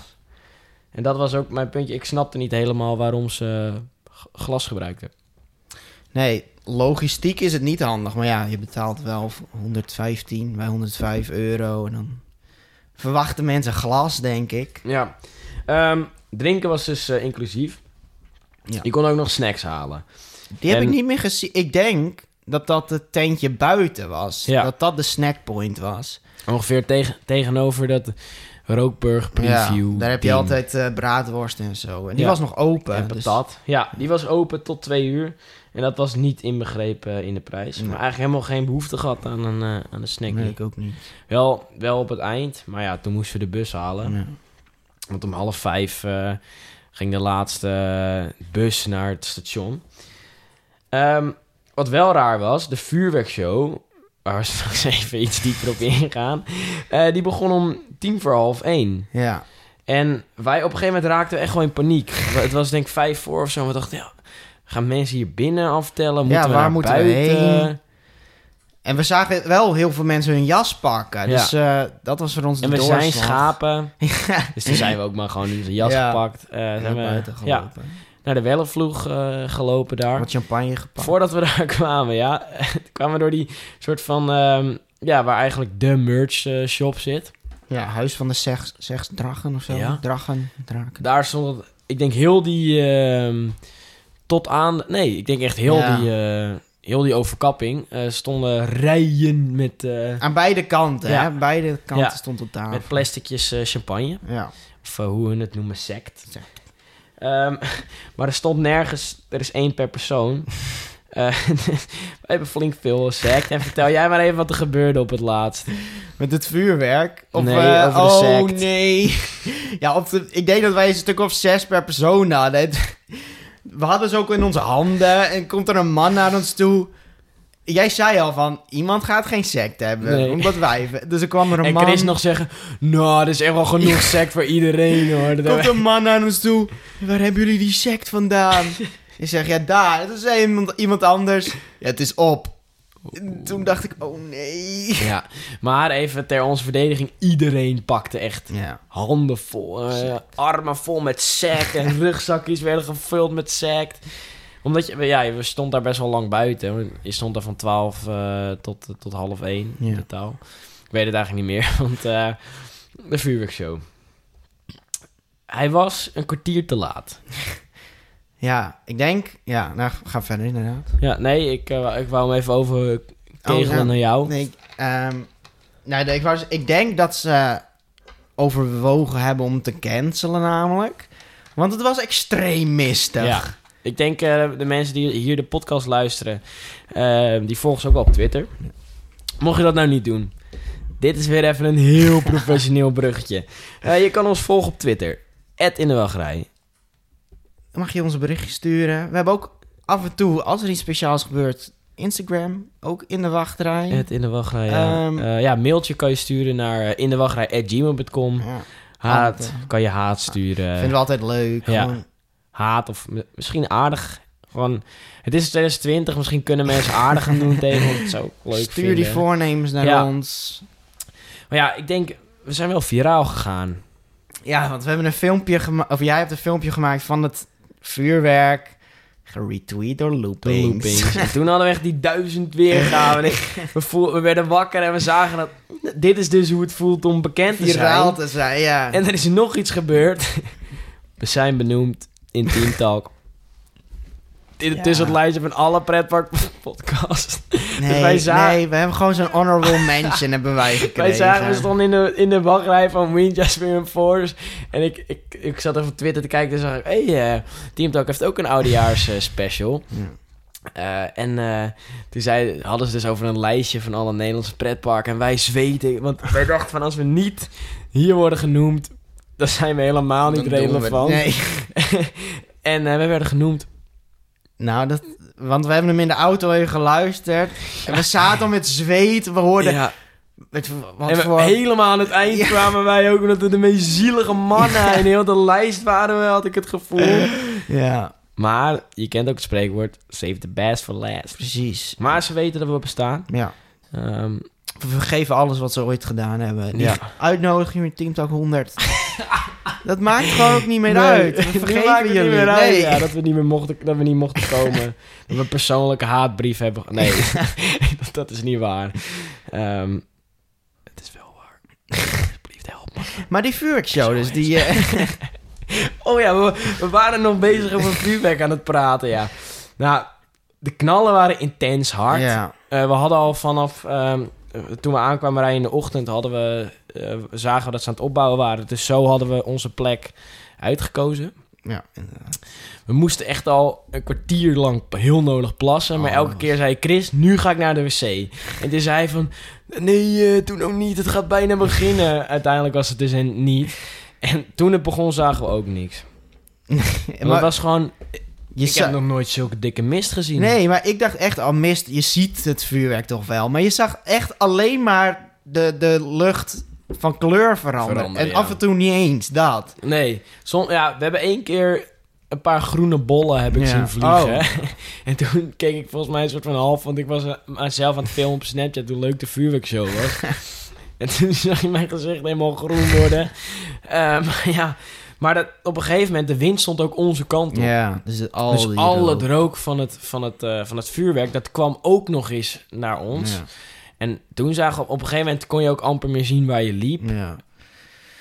S1: En dat was ook mijn puntje. Ik snapte niet helemaal waarom ze eh, g- glas gebruikten.
S2: Nee, logistiek is het niet handig. Maar ja, je betaalt wel 115 bij 105 euro. En dan verwachten mensen glas, denk ik.
S1: Ja. Ehm, drinken was dus eh, inclusief.
S2: Ja.
S1: Je kon ook nog snacks halen.
S2: Die heb
S1: En-
S2: ik niet meer gezien. Ik denk dat dat het tentje buiten was.
S1: Ja.
S2: Dat dat de snackpoint was.
S1: Ongeveer tegen tegenover dat Rookburg preview.
S2: ja, daar heb je
S1: ding.
S2: altijd eh, braadworst en zo. En die
S1: Ja.
S2: was nog open.
S1: En
S2: dus-
S1: patat. Ja, die was open tot twee uur. En dat was niet inbegrepen eh, in de prijs.
S2: Nee.
S1: Maar eigenlijk helemaal geen behoefte gehad aan een, eh, aan een snack.
S2: Nee, ik ook niet.
S1: Wel, wel op het eind. Maar ja, toen moesten we de bus halen.
S2: Ja.
S1: Want om half vijf eh, ging de laatste bus naar het station. Ehm, wat wel raar was, de vuurwerkshow... waar we straks even iets dieper op ingaan... eh, die begon om tien voor half één.
S2: ja.
S1: En wij op een gegeven moment raakten we echt gewoon in paniek. We- Het was denk ik vijf voor of zo. En we dachten, ja, gaan mensen hier binnen aftellen? Moeten
S2: Ja,
S1: we
S2: waar
S1: naar
S2: moeten we
S1: buiten?
S2: heen? En we zagen wel heel veel mensen hun jas pakken.
S1: Ja.
S2: Dus eh, dat was voor ons de
S1: En we
S2: doorslag.
S1: zijn schapen.
S2: Ja.
S1: Dus toen zijn we ook maar gewoon in zijn jas
S2: Ja.
S1: gepakt. Eh, zijn
S2: Naar
S1: we
S2: buiten
S1: ja,
S2: gelopen.
S1: naar de Wellenvloeg eh, gelopen daar.
S2: Wat champagne gepakt.
S1: Voordat we daar kwamen, ja, kwamen we door die soort van... ehm, ja, waar eigenlijk de merch eh, shop zit.
S2: Ja, Huis van de Seks, Seksdrachen of zo.
S1: Ja.
S2: Drachen, draken.
S1: Daar stond, het- ik denk, heel die... ehm, tot aan... Nee, ik denk echt heel
S2: Ja.
S1: die... eh, Heel die overkapping eh, stonden rijen met, eh,
S2: Aan beide kanten,
S1: Ja.
S2: hè. Beide kanten
S1: Ja.
S2: stond op tafel.
S1: met plasticjes eh, champagne.
S2: Ja.
S1: Of eh, hoe hun het noemen, sect.
S2: Sect.
S1: Ehm, maar er stond nergens, er is één per persoon. Eh, we hebben flink veel sect. En vertel jij maar even wat er gebeurde op het laatst.
S2: Met het vuurwerk. Of,
S1: Nee,
S2: eh,
S1: over de
S2: oh,
S1: sect.
S2: nee. ja, op de, ik denk dat wij een stuk of zes per persoon hadden. Het- We hadden ze ook in onze handen. En komt er een man naar ons toe. Jij zei al van, iemand gaat geen sect hebben.
S1: Nee.
S2: Omdat wij... Dus er kwam er een
S1: en
S2: man...
S1: Chris nog zeggen, nou, er is echt wel genoeg sect voor iedereen hoor. Dat
S2: Komt
S1: hebben-
S2: een man naar ons toe. Waar hebben jullie die sect vandaan? Ik zeg, ja, daar. Toen zei iemand, iemand anders, ja, het is op. En Toen dacht ik, oh nee.
S1: ja. Maar even ter onze verdediging, iedereen pakte echt
S2: Ja.
S1: handen vol, eh, armen vol met sect. En rugzakjes werden gevuld met sect. Omdat je, ja, we stond daar best wel lang buiten. Je stond daar van 12 eh, tot, tot half 1
S2: Ja.
S1: in totaal. Ik weet het eigenlijk niet meer, want eh, de vuurwerkshow. Hij was een kwartier te laat.
S2: Ja, ik denk... Ja, nou, ga verder inderdaad.
S1: Ja, nee, ik, eh, ik wou hem even over kegelen
S2: Oh, ja.
S1: naar jou.
S2: Nee, ik, ehm, nou, ik, was, ik denk dat ze overwogen hebben om te cancelen namelijk. Want het was extreem mistig.
S1: Ja. Ik denk eh, de mensen die hier de podcast luisteren, eh, die volgen ze ook wel op Twitter. Mocht je dat nou niet doen, dit is weer even een heel professioneel bruggetje. Eh, je kan ons volgen op Twitter. @indewagrij. in de
S2: Mag je ons een berichtje sturen. We hebben ook af en toe, als er iets speciaals gebeurt, Instagram. Ook in de wachtrij.
S1: in de ja.
S2: Ehm.
S1: Eh, ja, mailtje kan je sturen naar eh, in de
S2: Ja,
S1: Haat,
S2: Altijd.
S1: kan je haat sturen.
S2: vinden we altijd leuk.
S1: ja.
S2: Gewoon.
S1: haat of m- misschien aardig. Gewoon, het is 2020, misschien kunnen mensen aardig gaan doen tegen ons. Zo leuk
S2: Stuur
S1: vinden.
S2: die voornemens naar
S1: Ja.
S2: ons.
S1: Maar ja, ik denk, we zijn wel viraal gegaan.
S2: Ja, want we hebben een filmpje gemaakt. Of jij hebt een filmpje gemaakt van het vuurwerk. Geretweet door
S1: De
S2: loopings.
S1: loopings. En toen hadden we echt die duizend weergaven. En ik- we, voel, we werden wakker en we zagen dat... Dit is dus hoe het voelt om bekend te
S2: Viraal
S1: zijn.
S2: te zijn, ja.
S1: En er is nog iets gebeurd. We zijn benoemd in Team Talk. Dit
S2: Ja.
S1: is het lijstje van alle pretparkpodcasts.
S2: nee,
S1: Dus wij zagen-
S2: nee, we hebben gewoon zo'n honorable mention hebben wij gekregen.
S1: Wij zagen, dus we stonden in de, in de wachtrij van Winchester Force. En ik, ik, ik zat even op Twitter te kijken en zag ik... Hé, hey, eh, Team Talk heeft ook een oudejaars eh, special.
S2: Ja.
S1: Eh, en eh, toen zei, hadden ze dus over een lijstje van alle Nederlandse pretparken. En wij zweten, want wij dachten van als we niet hier worden genoemd... dan zijn we helemaal niet
S3: Dan doen we het
S1: relevant.
S2: Nee.
S1: en eh, we werden genoemd.
S2: Nou, dat, want we hebben hem in de auto even geluisterd. En we zaten al met zweet. We hoorden...
S1: Ja.
S2: Met, wat
S1: En we-
S2: voor...
S1: helemaal aan het eind
S2: Ja.
S1: kwamen wij ook... omdat we de meest zielige mannen in heel de lijst waren, had ik het gevoel.
S2: Ja,
S1: Maar je kent ook het spreekwoord: save the best for last.
S2: precies.
S1: Maar ze weten dat we bestaan.
S2: Ja.
S1: Ehm,
S2: We vergeven alles wat ze ooit gedaan hebben. Die
S1: Ja.
S2: uitnodiging met Team Talk 100. dat maakt gewoon ook niet meer
S1: nee,
S2: uit. We
S1: nu
S2: vergeven
S1: maakt het
S2: jullie.
S1: niet meer uit,
S2: nee.
S1: ja, dat we niet meer mochten, dat we niet mochten komen. dat we een persoonlijke haatbrief hebben. ge- Nee, dat, dat is niet waar. Ehm, het is wel waar. Alsjeblieft, help me.
S2: Maar die vuurwerkshow, dus die... eh,
S1: Oh ja, we, we waren nog bezig over vuurwerk aan het praten, ja. Nou, de knallen waren intens hard.
S2: ja.
S1: Eh, we hadden al vanaf... ehm, eh, toen we aankwamen rijden in de ochtend... Hadden we, eh, zagen we dat ze aan het opbouwen waren. Dus zo hadden we onze plek uitgekozen.
S2: ja.
S1: We moesten echt al een kwartier lang heel nodig plassen. Maar
S2: Oh.
S1: elke keer zei Chris, nu ga ik naar de wc. En toen zei hij van... Nee, eh toen ook niet. Het gaat bijna beginnen. Uiteindelijk was het dus een niet. En toen het begon zagen we ook niks. Maar,
S2: Maar
S1: het was gewoon...
S2: je
S1: ik
S2: zag-
S1: heb nog nooit zulke dikke mist gezien.
S2: Nee, maar ik dacht echt al mist. Je ziet het vuurwerk toch wel. Maar je zag echt alleen maar de, de lucht van kleur veranderen.
S1: Veranderen,
S2: en
S1: ja.
S2: af en toe niet eens dat.
S1: Nee, som, ja, we hebben één keer een paar groene bollen heb ik
S2: Ja.
S1: zien vliegen.
S2: Oh.
S1: en toen keek ik volgens mij een soort van half, want ik was eh, zelf aan het filmen op Snapchat hoe leuk de vuurwerkshow was. en toen zag je mijn gezicht helemaal groen worden. Eh, maar ja, maar dat, op een gegeven moment, de wind stond ook onze kant op.
S2: Ja, dus al
S1: dus
S2: die
S1: alle
S2: rook.
S1: rook, van, het, van, het, eh, van het vuurwerk, dat kwam ook nog eens naar ons.
S2: Ja.
S1: En toen zagen we, op een gegeven moment kon je ook amper meer zien waar je liep.
S2: Ja.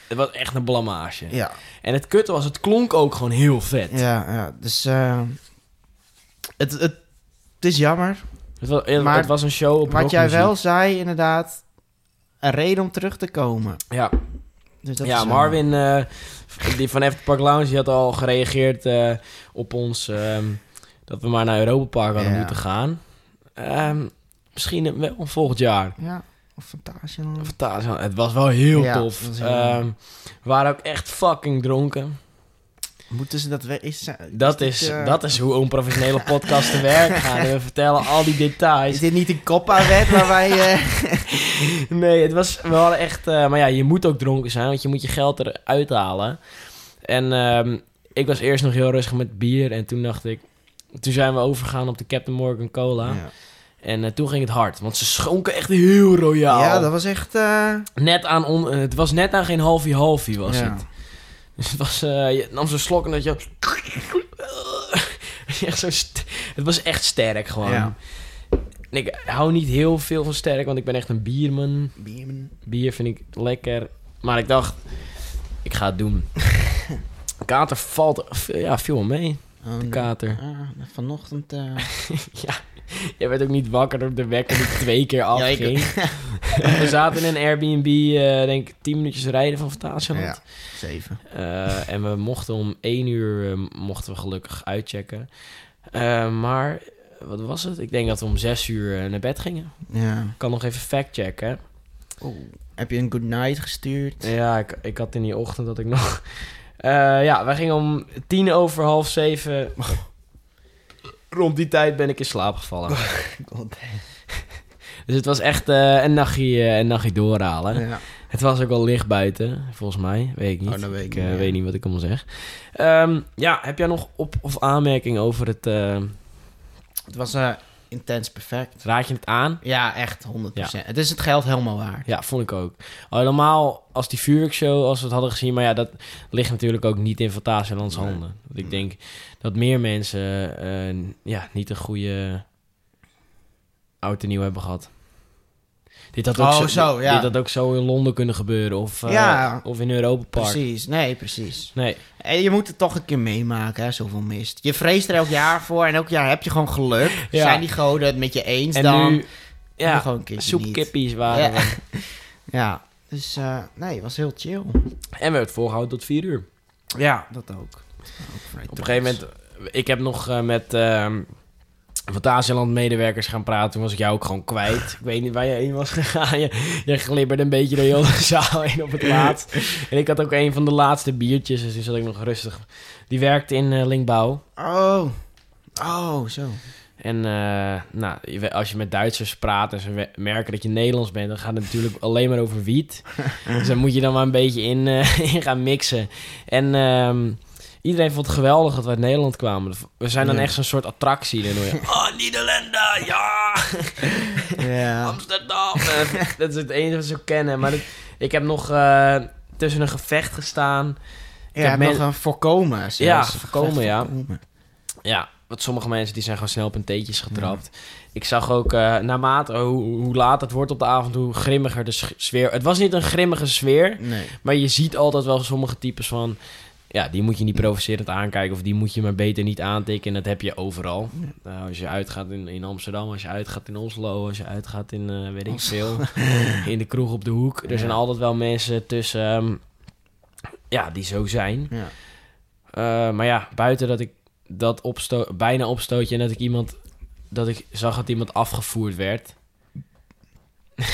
S1: Het was echt een blamage.
S2: Ja.
S1: En het kutte was, het klonk ook gewoon heel vet.
S2: ja, ja. Dus eh, het, het, het is jammer.
S1: Het, was, het,
S2: Maar
S1: het was een show op
S2: Wat jij
S1: rockmuziek.
S2: wel zei, inderdaad. Een reden om terug te komen.
S1: Ja,
S2: Dus dat is
S1: ja
S2: jammer.
S1: Marvin eh, die van After Park Lounge die had al gereageerd eh, op ons... ehm, dat we maar naar Europa Park hadden
S2: Ja.
S1: moeten gaan. Ehm, misschien wel volgend jaar.
S2: Ja, of Fantasia.
S1: Of daar zo- Het was wel heel
S2: Ja,
S1: tof.
S2: dat was heel
S1: Ehm, we waren ook echt fucking dronken.
S2: Moeten ze dat we Is, ze-
S1: Dat
S2: dit,
S1: is,
S2: eh,
S1: dat is hoe onprofessionele podcasts te werk gaan. En we vertellen al die details.
S2: Is dit niet een coppa-wet waar wij... eh,
S1: Nee, het was wel echt... eh, maar ja, je moet ook dronken zijn, want je moet je geld eruit halen. En ehm, ik was eerst nog heel rustig met bier. En toen dacht ik... Toen zijn we overgegaan op de Captain Morgan Cola.
S2: Ja.
S1: En eh, toen ging het hard, want ze schonken echt heel royaal.
S2: Ja, dat was echt... eh,
S1: net aan on- eh, het was net aan geen halfie-halfie was
S2: ja.
S1: het. Dus het was... eh, je nam zo'n slok en dat je... echt zo st- het was echt sterk gewoon.
S2: Ja.
S1: En ik hou niet heel veel van sterk, want ik ben echt een bierman.
S2: Biemen.
S1: Bier vind ik lekker. Maar ik dacht, ik ga het doen. kater valt... Ja, viel wel mee,
S2: Oh,
S1: de
S2: nee.
S1: kater.
S2: Ah, vanochtend... eh,
S1: ja, Je werd ook niet wakker door de wekker die twee keer afging. we zaten in een Airbnb, eh, denk ik, tien minuutjes rijden van Fantasieland.
S2: Ja, zeven.
S1: Eh, en we mochten om één uur eh, mochten we gelukkig uitchecken. Eh, maar wat was het? Ik denk dat we om zes uur eh, naar bed gingen.
S2: Ja.
S1: Ik kan nog even factchecken.
S2: Heb je een good night gestuurd?
S1: Ja, ik, ik had in die ochtend dat ik nog. Eh, ja, wij gingen om tien over half zeven. Rond die tijd ben ik in slaap gevallen.
S2: God.
S1: Dus het was echt eh, een, nachtje, eh, een nachtje doorhalen.
S2: Ja.
S1: Het was ook al licht buiten, volgens mij. Weet ik niet.
S2: Oh, dat weet ik
S1: eh,
S2: niet, ja.
S1: weet niet wat ik allemaal zeg. Ehm, ja, heb jij nog op- of aanmerking over het... eh,
S2: Het was eh, intens perfect.
S1: raad je het aan?
S2: Ja, echt 100%. Het is het geld helemaal waard.
S1: Ja, vond ik ook. Al Helemaal als die vuurwerkshow, als we het hadden gezien. Maar ja, dat ligt natuurlijk ook niet in Fantasielands
S2: Nee.
S1: handen. Want ik denk dat meer mensen eh, ja, niet een goede oud en nieuw hebben gehad. Dit had ook,
S2: Oh,
S1: zo,
S2: zo, ja.
S1: dit had ook zo in Londen kunnen gebeuren. Of, eh,
S2: Ja.
S1: of in Europa Park.
S2: Precies, nee, precies.
S1: Nee,
S2: En je moet het toch een keer meemaken, hè, zoveel mist. Je vreest er elk jaar voor en elk jaar heb je gewoon geluk.
S1: Ja.
S2: Zijn die goden het met je eens
S1: en
S2: dan?
S1: nu...
S2: doe
S1: Ja,
S2: gewoon een keertje niet.
S1: soepkippies waren
S2: Ja.
S1: we.
S2: Ja, dus eh, nee, het was heel chill.
S1: En we hebben het volgehouden tot vier uur.
S2: Ja, dat ook.
S1: Op een gegeven moment, ik heb nog eh, met ehm Fantasieland medewerkers gaan praten. Toen was ik jou ook gewoon kwijt. ik weet niet waar je heen was gegaan. Je, je glibberde een beetje door heel de zaal heen op het laatst. En ik had ook een van de laatste biertjes, dus toen zat ik nog rustig. Die werkte in eh, Linkbouw.
S2: Oh, oh, zo.
S1: En eh, nou, je we- als je met Duitsers praat en ze we- merken dat je Nederlands bent, dan gaat het natuurlijk alleen maar over wiet. dus daar moet je dan maar een beetje in, eh, in gaan mixen. En ehm, iedereen vond het geweldig dat we uit Nederland kwamen. We zijn dan
S2: Ja.
S1: echt zo'n soort attractie. Dan hoor je, oh, Nederlander, ja,
S2: Ja.
S1: Amsterdam. Eh, dat is het enige wat ze kennen. Maar dat- ik heb nog eh, tussen een gevecht gestaan.
S2: Ja, heb
S1: men-
S2: nog een voorkomen. zelfs.
S1: Ja, voorkomen,
S2: Echt
S1: ja.
S2: voorkomen.
S1: Ja, want sommige mensen die zijn gewoon snel op hun teentjes getrapt. Ik zag ook eh, naarmate hoe, hoe laat het wordt op de avond, hoe grimmiger de sch- sfeer. Het was niet een grimmige sfeer,
S2: Nee.
S1: maar je ziet altijd wel sommige types van. Ja, die moet je niet provocerend aankijken of die moet je maar beter niet aantikken. En dat heb je overal. Nou, als je uitgaat in, in Amsterdam, als je uitgaat in Oslo, als je uitgaat in eh, weet ik veel. In de kroeg op de hoek. Er
S2: Ja.
S1: zijn altijd wel mensen tussen. ehm, ja, die zo zijn.
S2: Ja.
S1: Eh, maar ja, buiten dat ik dat opsto bijna opstootje en dat ik iemand dat ik zag dat iemand afgevoerd werd.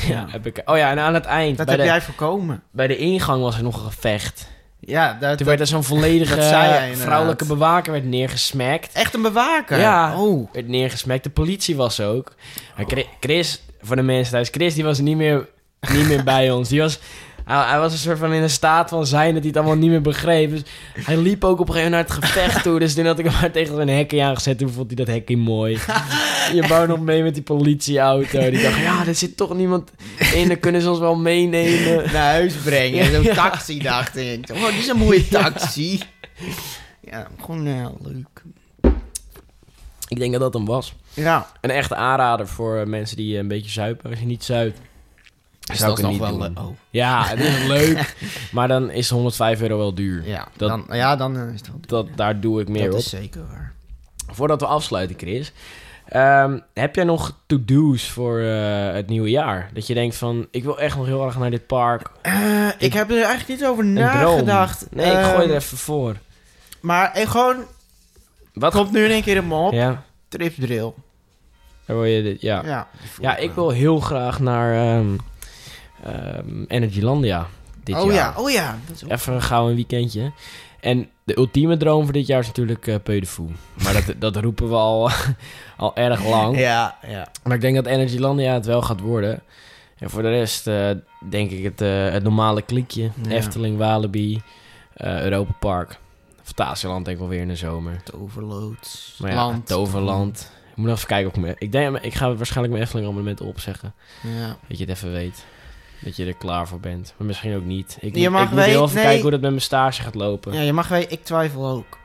S1: ja, heb ik. Oh ja, en aan het eind
S2: Dat
S1: bij
S2: heb
S1: de,
S2: jij voorkomen.
S1: bij de ingang was er nog een gevecht.
S2: Ja, dat,
S1: Toen werd er zo'n volledige
S2: dat zei jij inderdaad.
S1: vrouwelijke bewaker werd neergesmakt.
S2: echt een bewaker.
S1: Ja.
S2: Oh.
S1: Werd neergesmakt. De politie was er ook. Maar Chri- Chris, voor de mensen thuis, Chris die was niet meer, niet meer bij ons. Die was, hij, hij was een soort van in een staat van zijn dat hij het allemaal niet meer begreep. Dus hij liep ook op een gegeven moment naar het gevecht toe. Dus toen had ik hem maar tegen zijn hekje aangezet. Toen vond hij dat hekje mooi. Je wou nog mee met die politieauto. Die dacht, ja, er zit toch niemand in. Dan kunnen ze ons wel meenemen.
S2: Naar huis brengen. Zo'n
S1: Ja.
S2: taxi dacht ik. Oh, dit is een mooie taxi. Ja, gewoon heel leuk.
S1: Ik denk dat dat hem was.
S2: Ja,
S1: Een echte aanrader voor eh, mensen die eh, een beetje zuipen. Als je niet zuipt,
S2: dus
S1: zou
S2: dat
S1: ik het
S2: is nog
S1: niet
S2: wel...
S1: doen.
S2: eh, Oh.
S1: Ja, het is leuk. maar dan is 105 euro wel duur.
S2: Ja,
S1: Dat-
S2: dan, ja, dan eh, is het wel duur.
S1: Dat, daar doe ik meer
S2: dat
S1: op.
S2: is zeker waar.
S1: Voordat we afsluiten, Chris. ehm, heb jij nog to-do's voor eh, het nieuwe jaar? Dat je denkt van, ik wil echt nog heel erg naar dit park.
S2: Eh, ik heb er eigenlijk niet over
S1: Een
S2: nagedacht.
S1: droom. Nee, ik gooi
S2: Ehm,
S1: er even voor.
S2: Maar eh, gewoon,
S1: Wat
S2: komt nu in één keer in me op.
S1: Ja,
S2: Tripdrill.
S1: daar wil je dit, ja. ja.
S2: Ja,
S1: ik wil heel graag naar ehm ehm Energylandia dit
S2: oh
S1: jaar.
S2: ja, oh ja. Dat is ook-
S1: Even gauw een weekendje. En de ultieme droom voor dit jaar is natuurlijk eh Peu de Fou. Maar dat, dat roepen we al, al erg lang.
S2: Ja, ja.
S1: Maar ik denk dat Energylandia het wel gaat worden. En voor de rest eh, denk ik het, eh, het normale klikje.
S2: Ja.
S1: Efteling, Walibi, eh, Europa Park. Fantasieland denk ik wel weer in de zomer.
S2: Toverloods.
S1: Maar ja,
S2: land.
S1: Toverland. Ik moet nog even kijken of ik me... Ik, denk, ik ga waarschijnlijk mijn Efteling abonnement opzeggen.
S2: Ja.
S1: Dat je het even weet. Dat je er klaar voor bent. Maar misschien ook niet. Ik,
S2: Je
S1: moet-
S2: mag
S1: ik moet heel
S2: weten-
S1: even
S2: nee.
S1: kijken hoe dat met mijn stage gaat lopen.
S2: ja, je mag weten, ik twijfel ook.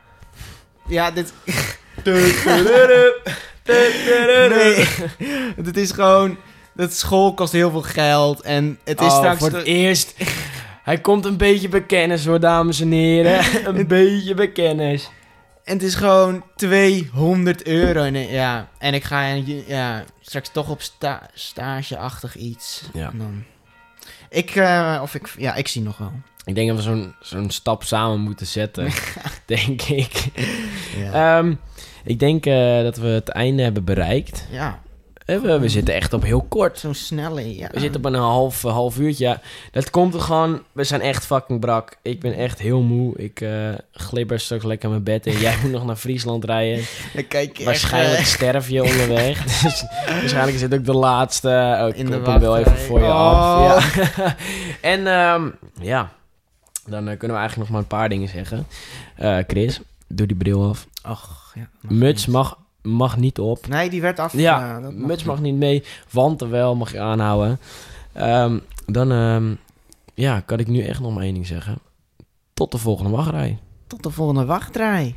S2: Ja, dit... nee, dit is gewoon... Dat school kost heel veel geld en het is
S1: Oh,
S2: straks...
S1: voor het eerst. Hij komt een beetje bij kennis hoor, dames en heren. een beetje bij kennis.
S2: En het is gewoon 200 euro. En, eh, ja. en ik ga eh, ja, straks toch op sta stageachtig iets.
S1: Ja.
S2: En Dan, ik, eh, of ik, ja, ik zie nog wel.
S1: Ik denk dat we zo'n zo'n stap samen moeten zetten, denk ik.
S2: Ja.
S1: Ehm, ik denk eh, dat we het einde hebben bereikt.
S2: ja,
S1: Eh, We, we zitten echt op heel kort.
S2: zo'n snelle, ja.
S1: We zitten op een half, eh, half uurtje. Ja, dat komt er gewoon. We zijn echt fucking brak. Ik ben echt heel moe. Ik eh, glibber straks lekker mijn bed in. Jij moet nog naar Friesland rijden.
S2: Dan kijk je
S1: Waarschijnlijk
S2: echt,
S1: sterf je onderweg. Dus waarschijnlijk is dit ook de laatste. Oh, ik
S2: In
S1: in
S2: de
S1: hem wel even
S2: wachtrij.
S1: voor je
S2: Oh.
S1: af. Ja. en ehm, ja, dan eh, kunnen we eigenlijk nog maar een paar dingen zeggen. Eh, Chris, doe die bril af.
S2: eh, Och, ja.
S1: Muts mag, mag niet op.
S2: Nee, die werd af.
S1: Ja,
S2: eh, dat mag
S1: Muts
S2: niet.
S1: mag niet mee. Want er wel mag je aanhouden. Ehm, dan ehm, ja, kan ik nu echt nog maar één ding zeggen. Tot de volgende wachtrij.
S2: Tot de volgende wachtrij.